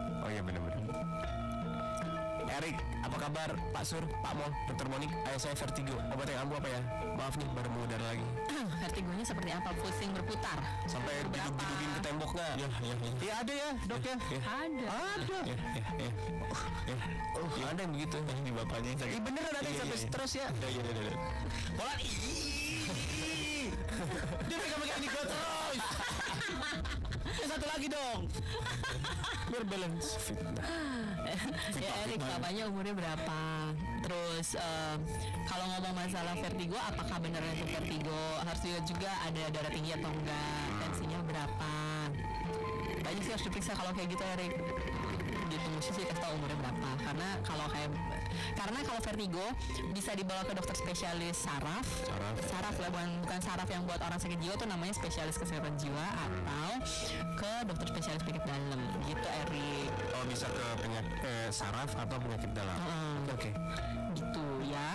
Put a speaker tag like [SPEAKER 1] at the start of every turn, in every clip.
[SPEAKER 1] Oh iya, Erik, apa kabar? Pak Sur, Pak Mol, Dokter Monik, ayah saya vertigo. Obat yang ampuh apa ya? Maaf nih, baru mau udara lagi.
[SPEAKER 2] vertigonya seperti apa? Pusing berputar.
[SPEAKER 1] Sampai
[SPEAKER 2] Berapa?
[SPEAKER 1] duduk-dudukin ke tembok nggak? Ya, ya, ya. Iya ada ya, dok ya. Ya,
[SPEAKER 2] Ada.
[SPEAKER 1] ada. Ya, ya, ya. Ya. Oh, ada yang begitu ya, di bapaknya yang sakit. Iya beneran ada yang sampai stres ya. Iya, iya, iya. Polan, ih. Dia pegang-pegang di gua terus. Yang satu lagi dong. Biar balance.
[SPEAKER 2] ya Erik,
[SPEAKER 1] fitnah.
[SPEAKER 2] bapaknya umurnya berapa? Terus eh, kalau ngomong masalah vertigo, apakah beneran itu vertigo? Harus dilihat juga ada darah tinggi atau enggak, tensinya berapa? Banyak sih harus diperiksa kalau kayak gitu Erik. Gitu mesti sih kasih tahu umurnya berapa. Karena kalau kayak karena kalau vertigo bisa dibawa ke dokter spesialis saraf.
[SPEAKER 1] Saraf.
[SPEAKER 2] lah bukan, bukan saraf yang buat orang sakit jiwa tuh namanya spesialis kesehatan jiwa atau ke dokter spesialis penyakit dalam gitu Erik.
[SPEAKER 1] Oh bisa ke penyakit eh, saraf atau penyakit dalam.
[SPEAKER 2] Hmm.
[SPEAKER 1] Oke. oke.
[SPEAKER 2] gitu ya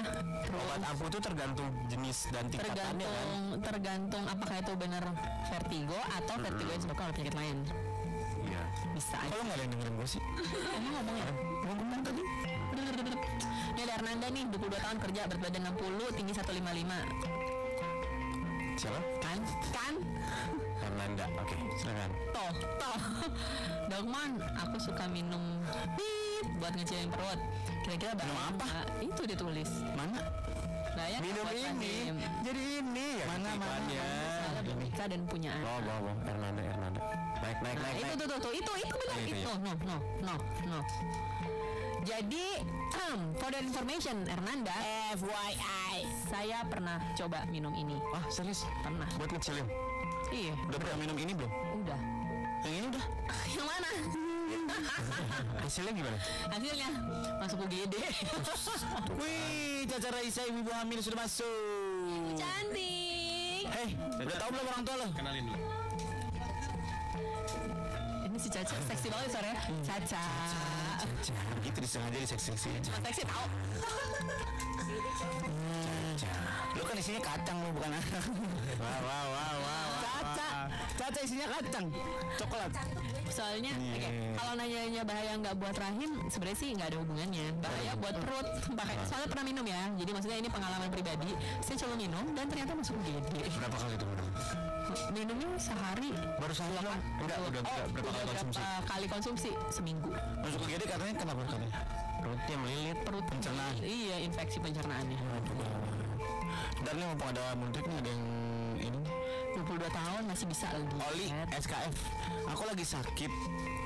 [SPEAKER 2] terus
[SPEAKER 1] Obat ampuh itu tergantung jenis dan tingkatannya kan.
[SPEAKER 2] tergantung tergantung apakah itu benar vertigo atau vertigo yang disebabkan oleh penyakit lain
[SPEAKER 1] Iya.
[SPEAKER 2] bisa aja
[SPEAKER 1] Kalau nggak ada yang dengerin gue sih.
[SPEAKER 2] emang ngomong ya
[SPEAKER 1] Gue ngomong tadi.
[SPEAKER 2] ini ada Arnanda nih 22 tahun kerja berat badan 60 tinggi 155
[SPEAKER 1] Siapa?
[SPEAKER 2] kan kan
[SPEAKER 1] Hernanda. Oke, silakan.
[SPEAKER 2] toh toh Dokman aku suka minum pip buat ngecilin perut kira-kira
[SPEAKER 1] Minum
[SPEAKER 2] bahaya
[SPEAKER 1] apa?
[SPEAKER 2] nggak? itu ditulis
[SPEAKER 1] Mana?
[SPEAKER 2] nah, ya
[SPEAKER 1] Minum
[SPEAKER 2] buat
[SPEAKER 1] ini.
[SPEAKER 2] Rahim.
[SPEAKER 1] Jadi ini. Ya, Oh,
[SPEAKER 3] Mana,
[SPEAKER 1] gitu
[SPEAKER 3] mana,
[SPEAKER 1] iklannya.
[SPEAKER 2] Soalnya belum nikah dan punya anak
[SPEAKER 1] Bawa, bawa, bawa. Hernanda, Hernanda. Naik, naik,
[SPEAKER 2] Nah,
[SPEAKER 1] naik,
[SPEAKER 2] itu
[SPEAKER 1] naik.
[SPEAKER 2] tuh, tuh, tuh, itu, itu benar,
[SPEAKER 1] Nah, itu
[SPEAKER 2] itu,
[SPEAKER 1] ya.
[SPEAKER 2] no, no, no, no. Jadi, for the information, Hernanda, FYI, saya pernah coba minum ini.
[SPEAKER 1] Ah, serius?
[SPEAKER 2] Pernah.
[SPEAKER 1] Buat ngecilin.
[SPEAKER 2] Iya,
[SPEAKER 1] Udah pernah minum ini belum?
[SPEAKER 2] udah.
[SPEAKER 1] Yang ini udah.
[SPEAKER 2] Yang mana?
[SPEAKER 1] Hasilnya gimana?
[SPEAKER 2] Hasilnya masuk UGD.
[SPEAKER 3] Wih, Caca Raisa ibu hamil sudah masuk.
[SPEAKER 2] Cantik.
[SPEAKER 3] Hei, udah tahu belum orang tua lo?
[SPEAKER 4] Kenalin dulu.
[SPEAKER 2] Ini si Caca seksi banget sore.
[SPEAKER 1] Hmm.
[SPEAKER 2] Caca.
[SPEAKER 1] Jangan gitu disengaja diseksi-seksi. Jangan,
[SPEAKER 2] Seksi tahu.
[SPEAKER 1] jangan.
[SPEAKER 3] Lo kan isinya kacang lo bukan anak.
[SPEAKER 1] Wah, wah, wah, wah.
[SPEAKER 3] Caca, Caca isinya kacang, coklat.
[SPEAKER 2] Soalnya,
[SPEAKER 1] Iya.
[SPEAKER 2] oke, kalau nanyanya bahaya nggak buat rahim, sebenarnya sih nggak ada hubungannya. Bahaya buat perut. Pakai soalnya pernah minum ya. Jadi maksudnya ini pengalaman pribadi. Saya coba minum dan ternyata masuk UGD.
[SPEAKER 1] Berapa kali itu minum?
[SPEAKER 2] Minumnya sehari.
[SPEAKER 1] Baru sehari belum? Enggak, udah,
[SPEAKER 2] Dua-
[SPEAKER 1] udah
[SPEAKER 2] oh,
[SPEAKER 1] berapa kali
[SPEAKER 2] udah
[SPEAKER 1] konsumsi?
[SPEAKER 2] berapa kali konsumsi? Seminggu.
[SPEAKER 1] Masuk ke GD katanya kenapa katanya? Perutnya melilit,
[SPEAKER 2] Perut
[SPEAKER 1] pencernaan.
[SPEAKER 2] Iya, infeksi ya. pencernaannya.
[SPEAKER 1] Dan ini mumpung ada muntrik nih ada yang ini.
[SPEAKER 2] 22 tahun masih bisa lagi.
[SPEAKER 1] Oli
[SPEAKER 2] Ed.
[SPEAKER 1] SKF. Aku lagi sakit.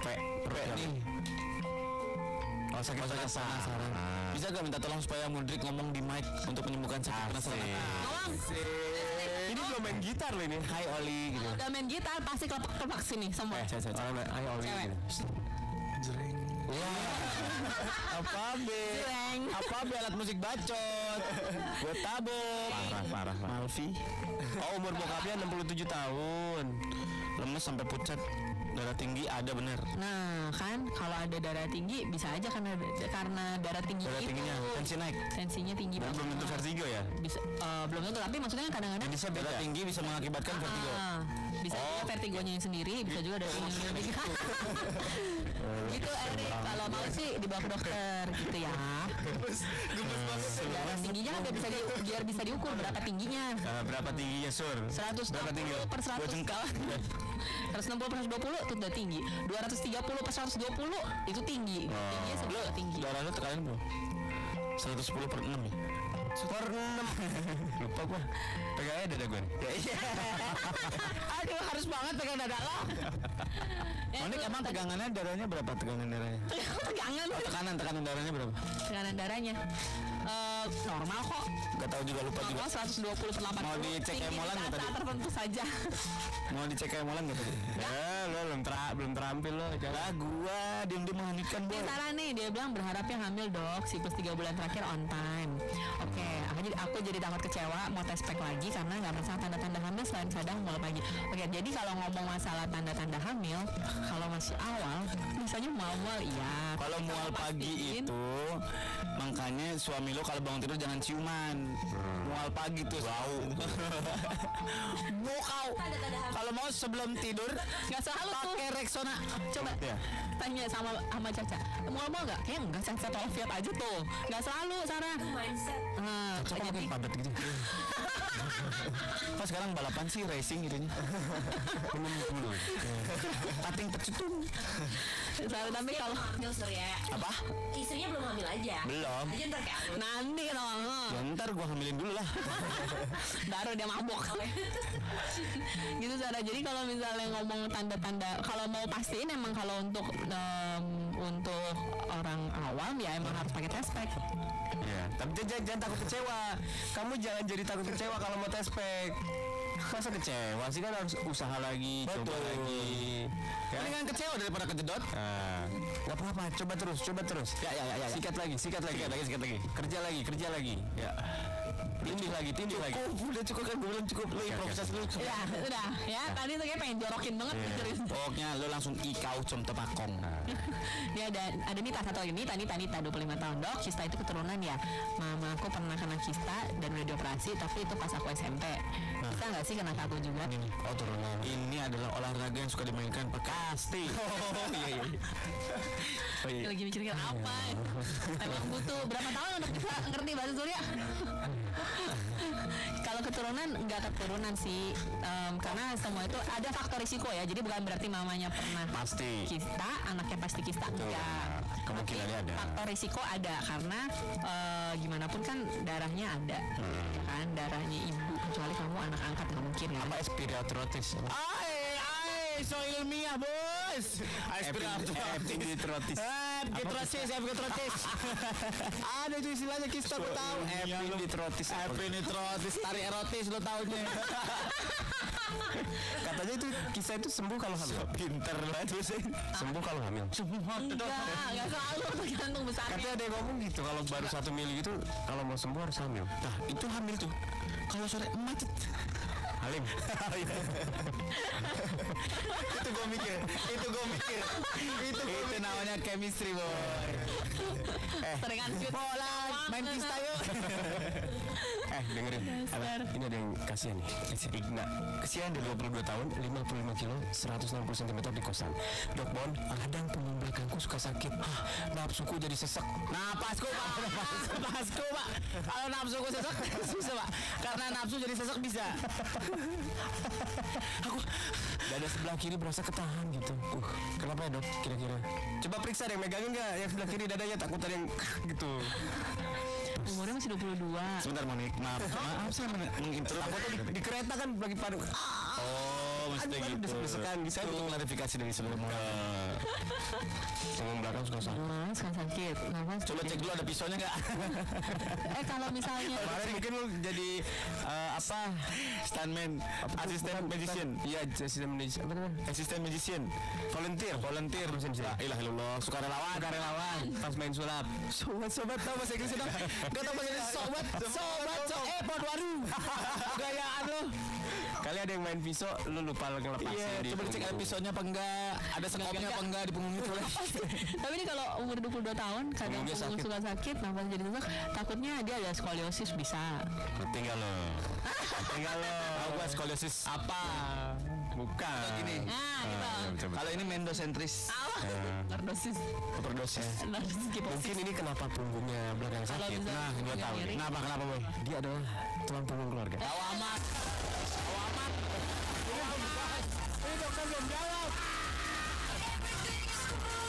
[SPEAKER 1] Pe, pe nih. Oh sakit penasaran.
[SPEAKER 3] Bisa gak minta tolong supaya Mudrik ngomong di mic untuk menyembuhkan sakit penasaran?
[SPEAKER 2] Tolong.
[SPEAKER 1] Ini belum main gitar loh ini. Hai Oli gitu. Eh,
[SPEAKER 2] Udah main gitar pasti kelopak-kelopak sini semua.
[SPEAKER 1] Saya saya Hai Oli.
[SPEAKER 2] Cewek.
[SPEAKER 1] gitu. Iya.
[SPEAKER 3] Apa be?
[SPEAKER 2] Jeleng.
[SPEAKER 3] Apa be alat musik bacot? Buat tabung.
[SPEAKER 1] Parah parah. parah.
[SPEAKER 3] Malfi,
[SPEAKER 1] Oh umur bokapnya 67 tahun.
[SPEAKER 3] lemes sampai pucat, darah tinggi ada bener.
[SPEAKER 2] Nah, kan kalau ada darah tinggi bisa aja karena karena darah tinggi
[SPEAKER 1] Darah
[SPEAKER 2] itu
[SPEAKER 1] tingginya
[SPEAKER 3] Kan
[SPEAKER 1] tensi naik.
[SPEAKER 2] tensinya tinggi
[SPEAKER 1] Dan
[SPEAKER 2] banget.
[SPEAKER 1] belum tentu vertigo ya.
[SPEAKER 2] Bisa eh, belum tentu tapi maksudnya kadang-kadang
[SPEAKER 1] Bisa beda.
[SPEAKER 3] Darah tinggi bisa mengakibatkan vertigo.
[SPEAKER 2] Ah, bisa juga
[SPEAKER 1] Oh.
[SPEAKER 2] vertigonya yang sendiri, bisa juga dari yang lebih. gitu Erik,
[SPEAKER 1] Iya.
[SPEAKER 2] kalau mau sih dibawa ke dokter gitu ya. Darah tingginya nggak bisa di, biar bisa diukur berapa tingginya.
[SPEAKER 1] Eh, berapa tingginya sur?
[SPEAKER 2] 160 per 100 160 per 120 itu udah tinggi 230 per 120 itu tinggi
[SPEAKER 1] Oh.
[SPEAKER 2] Tingginya sebelum tinggi
[SPEAKER 3] Darah lo tekanan bro 110 per 6 ya? Per 6 Lupa gua
[SPEAKER 1] Pegangnya dada gue.
[SPEAKER 3] Ya iya Aduh harus banget pegang dada lo
[SPEAKER 2] Eh,
[SPEAKER 3] Monik
[SPEAKER 2] lu
[SPEAKER 3] emang
[SPEAKER 2] tadi-
[SPEAKER 3] tegangannya darahnya berapa tegangan darahnya?
[SPEAKER 2] tegangan
[SPEAKER 3] Oh, tekanan tekanan darahnya berapa?
[SPEAKER 2] tekanan darahnya Eh, normal kok
[SPEAKER 3] Gak tahu juga lupa juga
[SPEAKER 2] normal 120 per 80
[SPEAKER 3] Mau dicek
[SPEAKER 2] Tinggi di
[SPEAKER 3] emolan nggak
[SPEAKER 2] saat-saat
[SPEAKER 3] tadi?
[SPEAKER 2] tertentu saja
[SPEAKER 3] Mau dicek kayak molan gak tadi?
[SPEAKER 1] Eh, lo belum tera belum terampil lo.
[SPEAKER 3] Lah gua diem-diem menghangatkan
[SPEAKER 2] Ini
[SPEAKER 3] boy
[SPEAKER 2] Sarah nih dia bilang berharapnya hamil dok siklus 3 bulan terakhir on time oke aku jadi aku jadi takut kecewa mau tes pack lagi karena nggak merasa tanda-tanda hamil selain kadang mulai pagi oke jadi kalau ngomong masalah tanda-tanda hamil kalau masih awal biasanya mual-mual iya
[SPEAKER 3] Kalau
[SPEAKER 2] Tapi
[SPEAKER 3] mual pagi
[SPEAKER 2] pastiin,
[SPEAKER 3] itu Makanya suami lo kalau bangun tidur jangan ciuman
[SPEAKER 1] Hmm.
[SPEAKER 3] Mual pagi tuh Bau Bukau Kalau mau sebelum tidur
[SPEAKER 2] nggak usah halus tuh.
[SPEAKER 1] Pakai Rexona.
[SPEAKER 2] Coba
[SPEAKER 1] Ya.
[SPEAKER 2] tanya sama sama Caca. Mual-mual nggak? Kayaknya nggak Caca tolong Fiat aja tuh. Nggak selalu Sarah.
[SPEAKER 4] mindset
[SPEAKER 2] Nah,
[SPEAKER 1] Coba
[SPEAKER 2] jadi
[SPEAKER 1] makin padat gitu. Pas sekarang balapan sih racing gitu. Belum dulu. Tating pecetung.
[SPEAKER 2] Sarah tapi
[SPEAKER 4] Dia
[SPEAKER 2] kalau
[SPEAKER 4] belum hamil surya
[SPEAKER 1] Apa?
[SPEAKER 4] istrinya ya. belum hamil aja
[SPEAKER 1] Belum.
[SPEAKER 4] aja ntar kayak aku.
[SPEAKER 2] nanti dong
[SPEAKER 1] Ya ntar gua hamilin dulu lah. Iya.
[SPEAKER 2] baru dia mabuk gitu Sarah jadi kalau misalnya ngomong tanda-tanda kalau mau pastiin emang kalau untuk em, untuk orang awam ya emang harus pakai test pack
[SPEAKER 1] Iya.
[SPEAKER 3] Tapi jangan, jangan- jangan takut kecewa. Kamu jangan jadi takut kecewa kalau mau tes pack.
[SPEAKER 1] Masa kecewa sih kan harus usaha lagi, coba
[SPEAKER 3] Betul.
[SPEAKER 1] lagi.
[SPEAKER 3] Ya.
[SPEAKER 1] Mendingan kecewa daripada kejedot.
[SPEAKER 3] Nah, nggak apa-apa. Coba terus, coba terus.
[SPEAKER 1] Ya, ya, ya, ya, ya.
[SPEAKER 3] Sikat lagi, sikat lagi,
[SPEAKER 1] Sikat lagi, sikat lagi.
[SPEAKER 3] Kerja lagi, kerja lagi.
[SPEAKER 1] Ya. Tindih lagi, tindih lagi.
[SPEAKER 3] Cukup, udah cukup kan gue bilang cukup. Lu
[SPEAKER 1] Oke,
[SPEAKER 3] improvisasi
[SPEAKER 1] oke, Iya.
[SPEAKER 3] lu.
[SPEAKER 2] ya udah ya tadi tuh kayak pengen jorokin banget gitu,
[SPEAKER 3] Iya.
[SPEAKER 2] mikirin
[SPEAKER 1] Pokoknya lo langsung ikau cum tepakong.
[SPEAKER 3] Nah.
[SPEAKER 2] Ini ada Ya, ada Nita satu lagi Nita Nita Nita 25 tahun dok kista itu keturunan ya mama aku pernah kena kista dan udah dioperasi tapi itu pas aku SMP bisa nggak sih kena ke aku juga
[SPEAKER 1] Oh turunan. Ini adalah olahraga yang suka dimainkan pasti. Oh iya iya. Oh, iya.
[SPEAKER 2] lagi mikirin apa emang butuh berapa tahun untuk bisa ngerti bahasa Surya kalau keturunan nggak keturunan sih Em, karena semua itu ada faktor risiko ya jadi bukan berarti mamanya pernah
[SPEAKER 1] Pasti.
[SPEAKER 2] kista anaknya pasti kista enggak
[SPEAKER 1] Kemungkinannya
[SPEAKER 2] Tapi
[SPEAKER 1] ada.
[SPEAKER 2] faktor risiko ada karena eh, gimana pun kan darahnya ada
[SPEAKER 1] Hmm.
[SPEAKER 2] ya kan darahnya ibu kecuali kamu anak angkat nggak mungkin ya
[SPEAKER 1] Apa espiritualitis?
[SPEAKER 3] Ay, ay, so ilmiah, bos.
[SPEAKER 1] Espiritualitis.
[SPEAKER 3] Epitrotis, epitrotis. Ada itu istilahnya kista gue tahu.
[SPEAKER 1] Espiritualitis.
[SPEAKER 3] Epitrotis, tari erotis lo taunya.
[SPEAKER 1] Katanya itu kisah itu sembuh kalau hamil. Pinter banget sih. Sembuh kalau hamil.
[SPEAKER 2] enggak enggak selalu tergantung besarnya
[SPEAKER 1] Katanya ada yang ngomong gitu kalau baru satu mili itu kalau mau sembuh harus hamil. Nah itu hamil tuh. Kalau sore macet. Halim.
[SPEAKER 3] itu gue mikir, itu gue mikir. Itu itu namanya chemistry, boy.
[SPEAKER 1] ya?
[SPEAKER 2] seringan shoot
[SPEAKER 3] Bola, main kista yuk. Iya,
[SPEAKER 1] eh dengerin. Apa? Ini ada yang kasihan nih. Igna. Kesian dia 22 tahun, 55 kilo, 160 cm di kosan. Dok Bon, kadang punggung belakangku suka sakit. Hah, nafsuku jadi sesek.
[SPEAKER 3] Napasku, Pak. Napasku, Pak. Kalau nafsu gue sesek, susah, Pak. Karena nafsu jadi sesek bisa.
[SPEAKER 1] Dada sebelah kiri berasa ketahan gitu. Uh, kenapa ya dok? Kira-kira.
[SPEAKER 3] Coba periksa deh, megangin nggak yang sebelah kiri dadanya takut ada yang gitu.
[SPEAKER 2] umurnya masih 22
[SPEAKER 1] Sebentar Monik, maaf. Maaf saya men-
[SPEAKER 3] Takutnya di, di kereta kan lagi padu.
[SPEAKER 1] Oh, mesti
[SPEAKER 3] Aduh, aduh,
[SPEAKER 1] gitu.
[SPEAKER 3] desek-desekan gitu.
[SPEAKER 1] Saya butuh klarifikasi dari seluruh orang. Punggung belakang suka sakit.
[SPEAKER 2] Nah, sekarang sakit Nafas
[SPEAKER 1] Coba
[SPEAKER 2] sakit.
[SPEAKER 1] cek dulu ada pisaunya nggak?
[SPEAKER 2] eh kalau misalnya
[SPEAKER 3] Kemarin mungkin lu jadi eh, apa?
[SPEAKER 1] Stuntman, asisten magician,
[SPEAKER 3] Iya, asisten magician. Apa namanya?
[SPEAKER 1] asisten magician,
[SPEAKER 3] Volunteer, volunteer.
[SPEAKER 1] La ilaha illallah, sukarelawan.
[SPEAKER 3] Sukarelawan, pas main sulap. Sobat-sobat tahu bahasa Inggris dong. Gak tahu bahasa Inggris. Sobat, sobat, sobat. Eh, Podwaru. Gayaan lu.
[SPEAKER 1] Kali ada yang main pisau, lu lupa ngelepasin
[SPEAKER 3] Iya,
[SPEAKER 1] di
[SPEAKER 3] coba dicek
[SPEAKER 1] punggung.
[SPEAKER 3] episodenya apa enggak. Ada sekopnya apa enggak di punggung itu.
[SPEAKER 2] tapi ini kalau umur 22 tahun kadang
[SPEAKER 1] Punggungnya
[SPEAKER 2] punggung
[SPEAKER 1] sakit.
[SPEAKER 2] suka sakit nafas jadi sesak takutnya dia ada skoliosis bisa
[SPEAKER 1] Tinggal lo. Tinggal lo. Tahu gua skoliosis apa? Bukan.
[SPEAKER 3] Atau gini.
[SPEAKER 1] Ah,
[SPEAKER 2] nah gitu
[SPEAKER 3] Kalau ini mendosentris.
[SPEAKER 2] Alah, Nardosis
[SPEAKER 1] Overdosis.
[SPEAKER 2] Nardosis kiposis
[SPEAKER 1] Ah. Mungkin ini kenapa punggungnya belakang
[SPEAKER 2] Kalau
[SPEAKER 1] sakit.
[SPEAKER 2] bisa
[SPEAKER 1] Nah, gua
[SPEAKER 2] punggungnya
[SPEAKER 1] tahu. nih.
[SPEAKER 2] miring.
[SPEAKER 1] Kenapa kenapa boy? Dia adalah tulang punggung keluarga.
[SPEAKER 3] Tahu amat.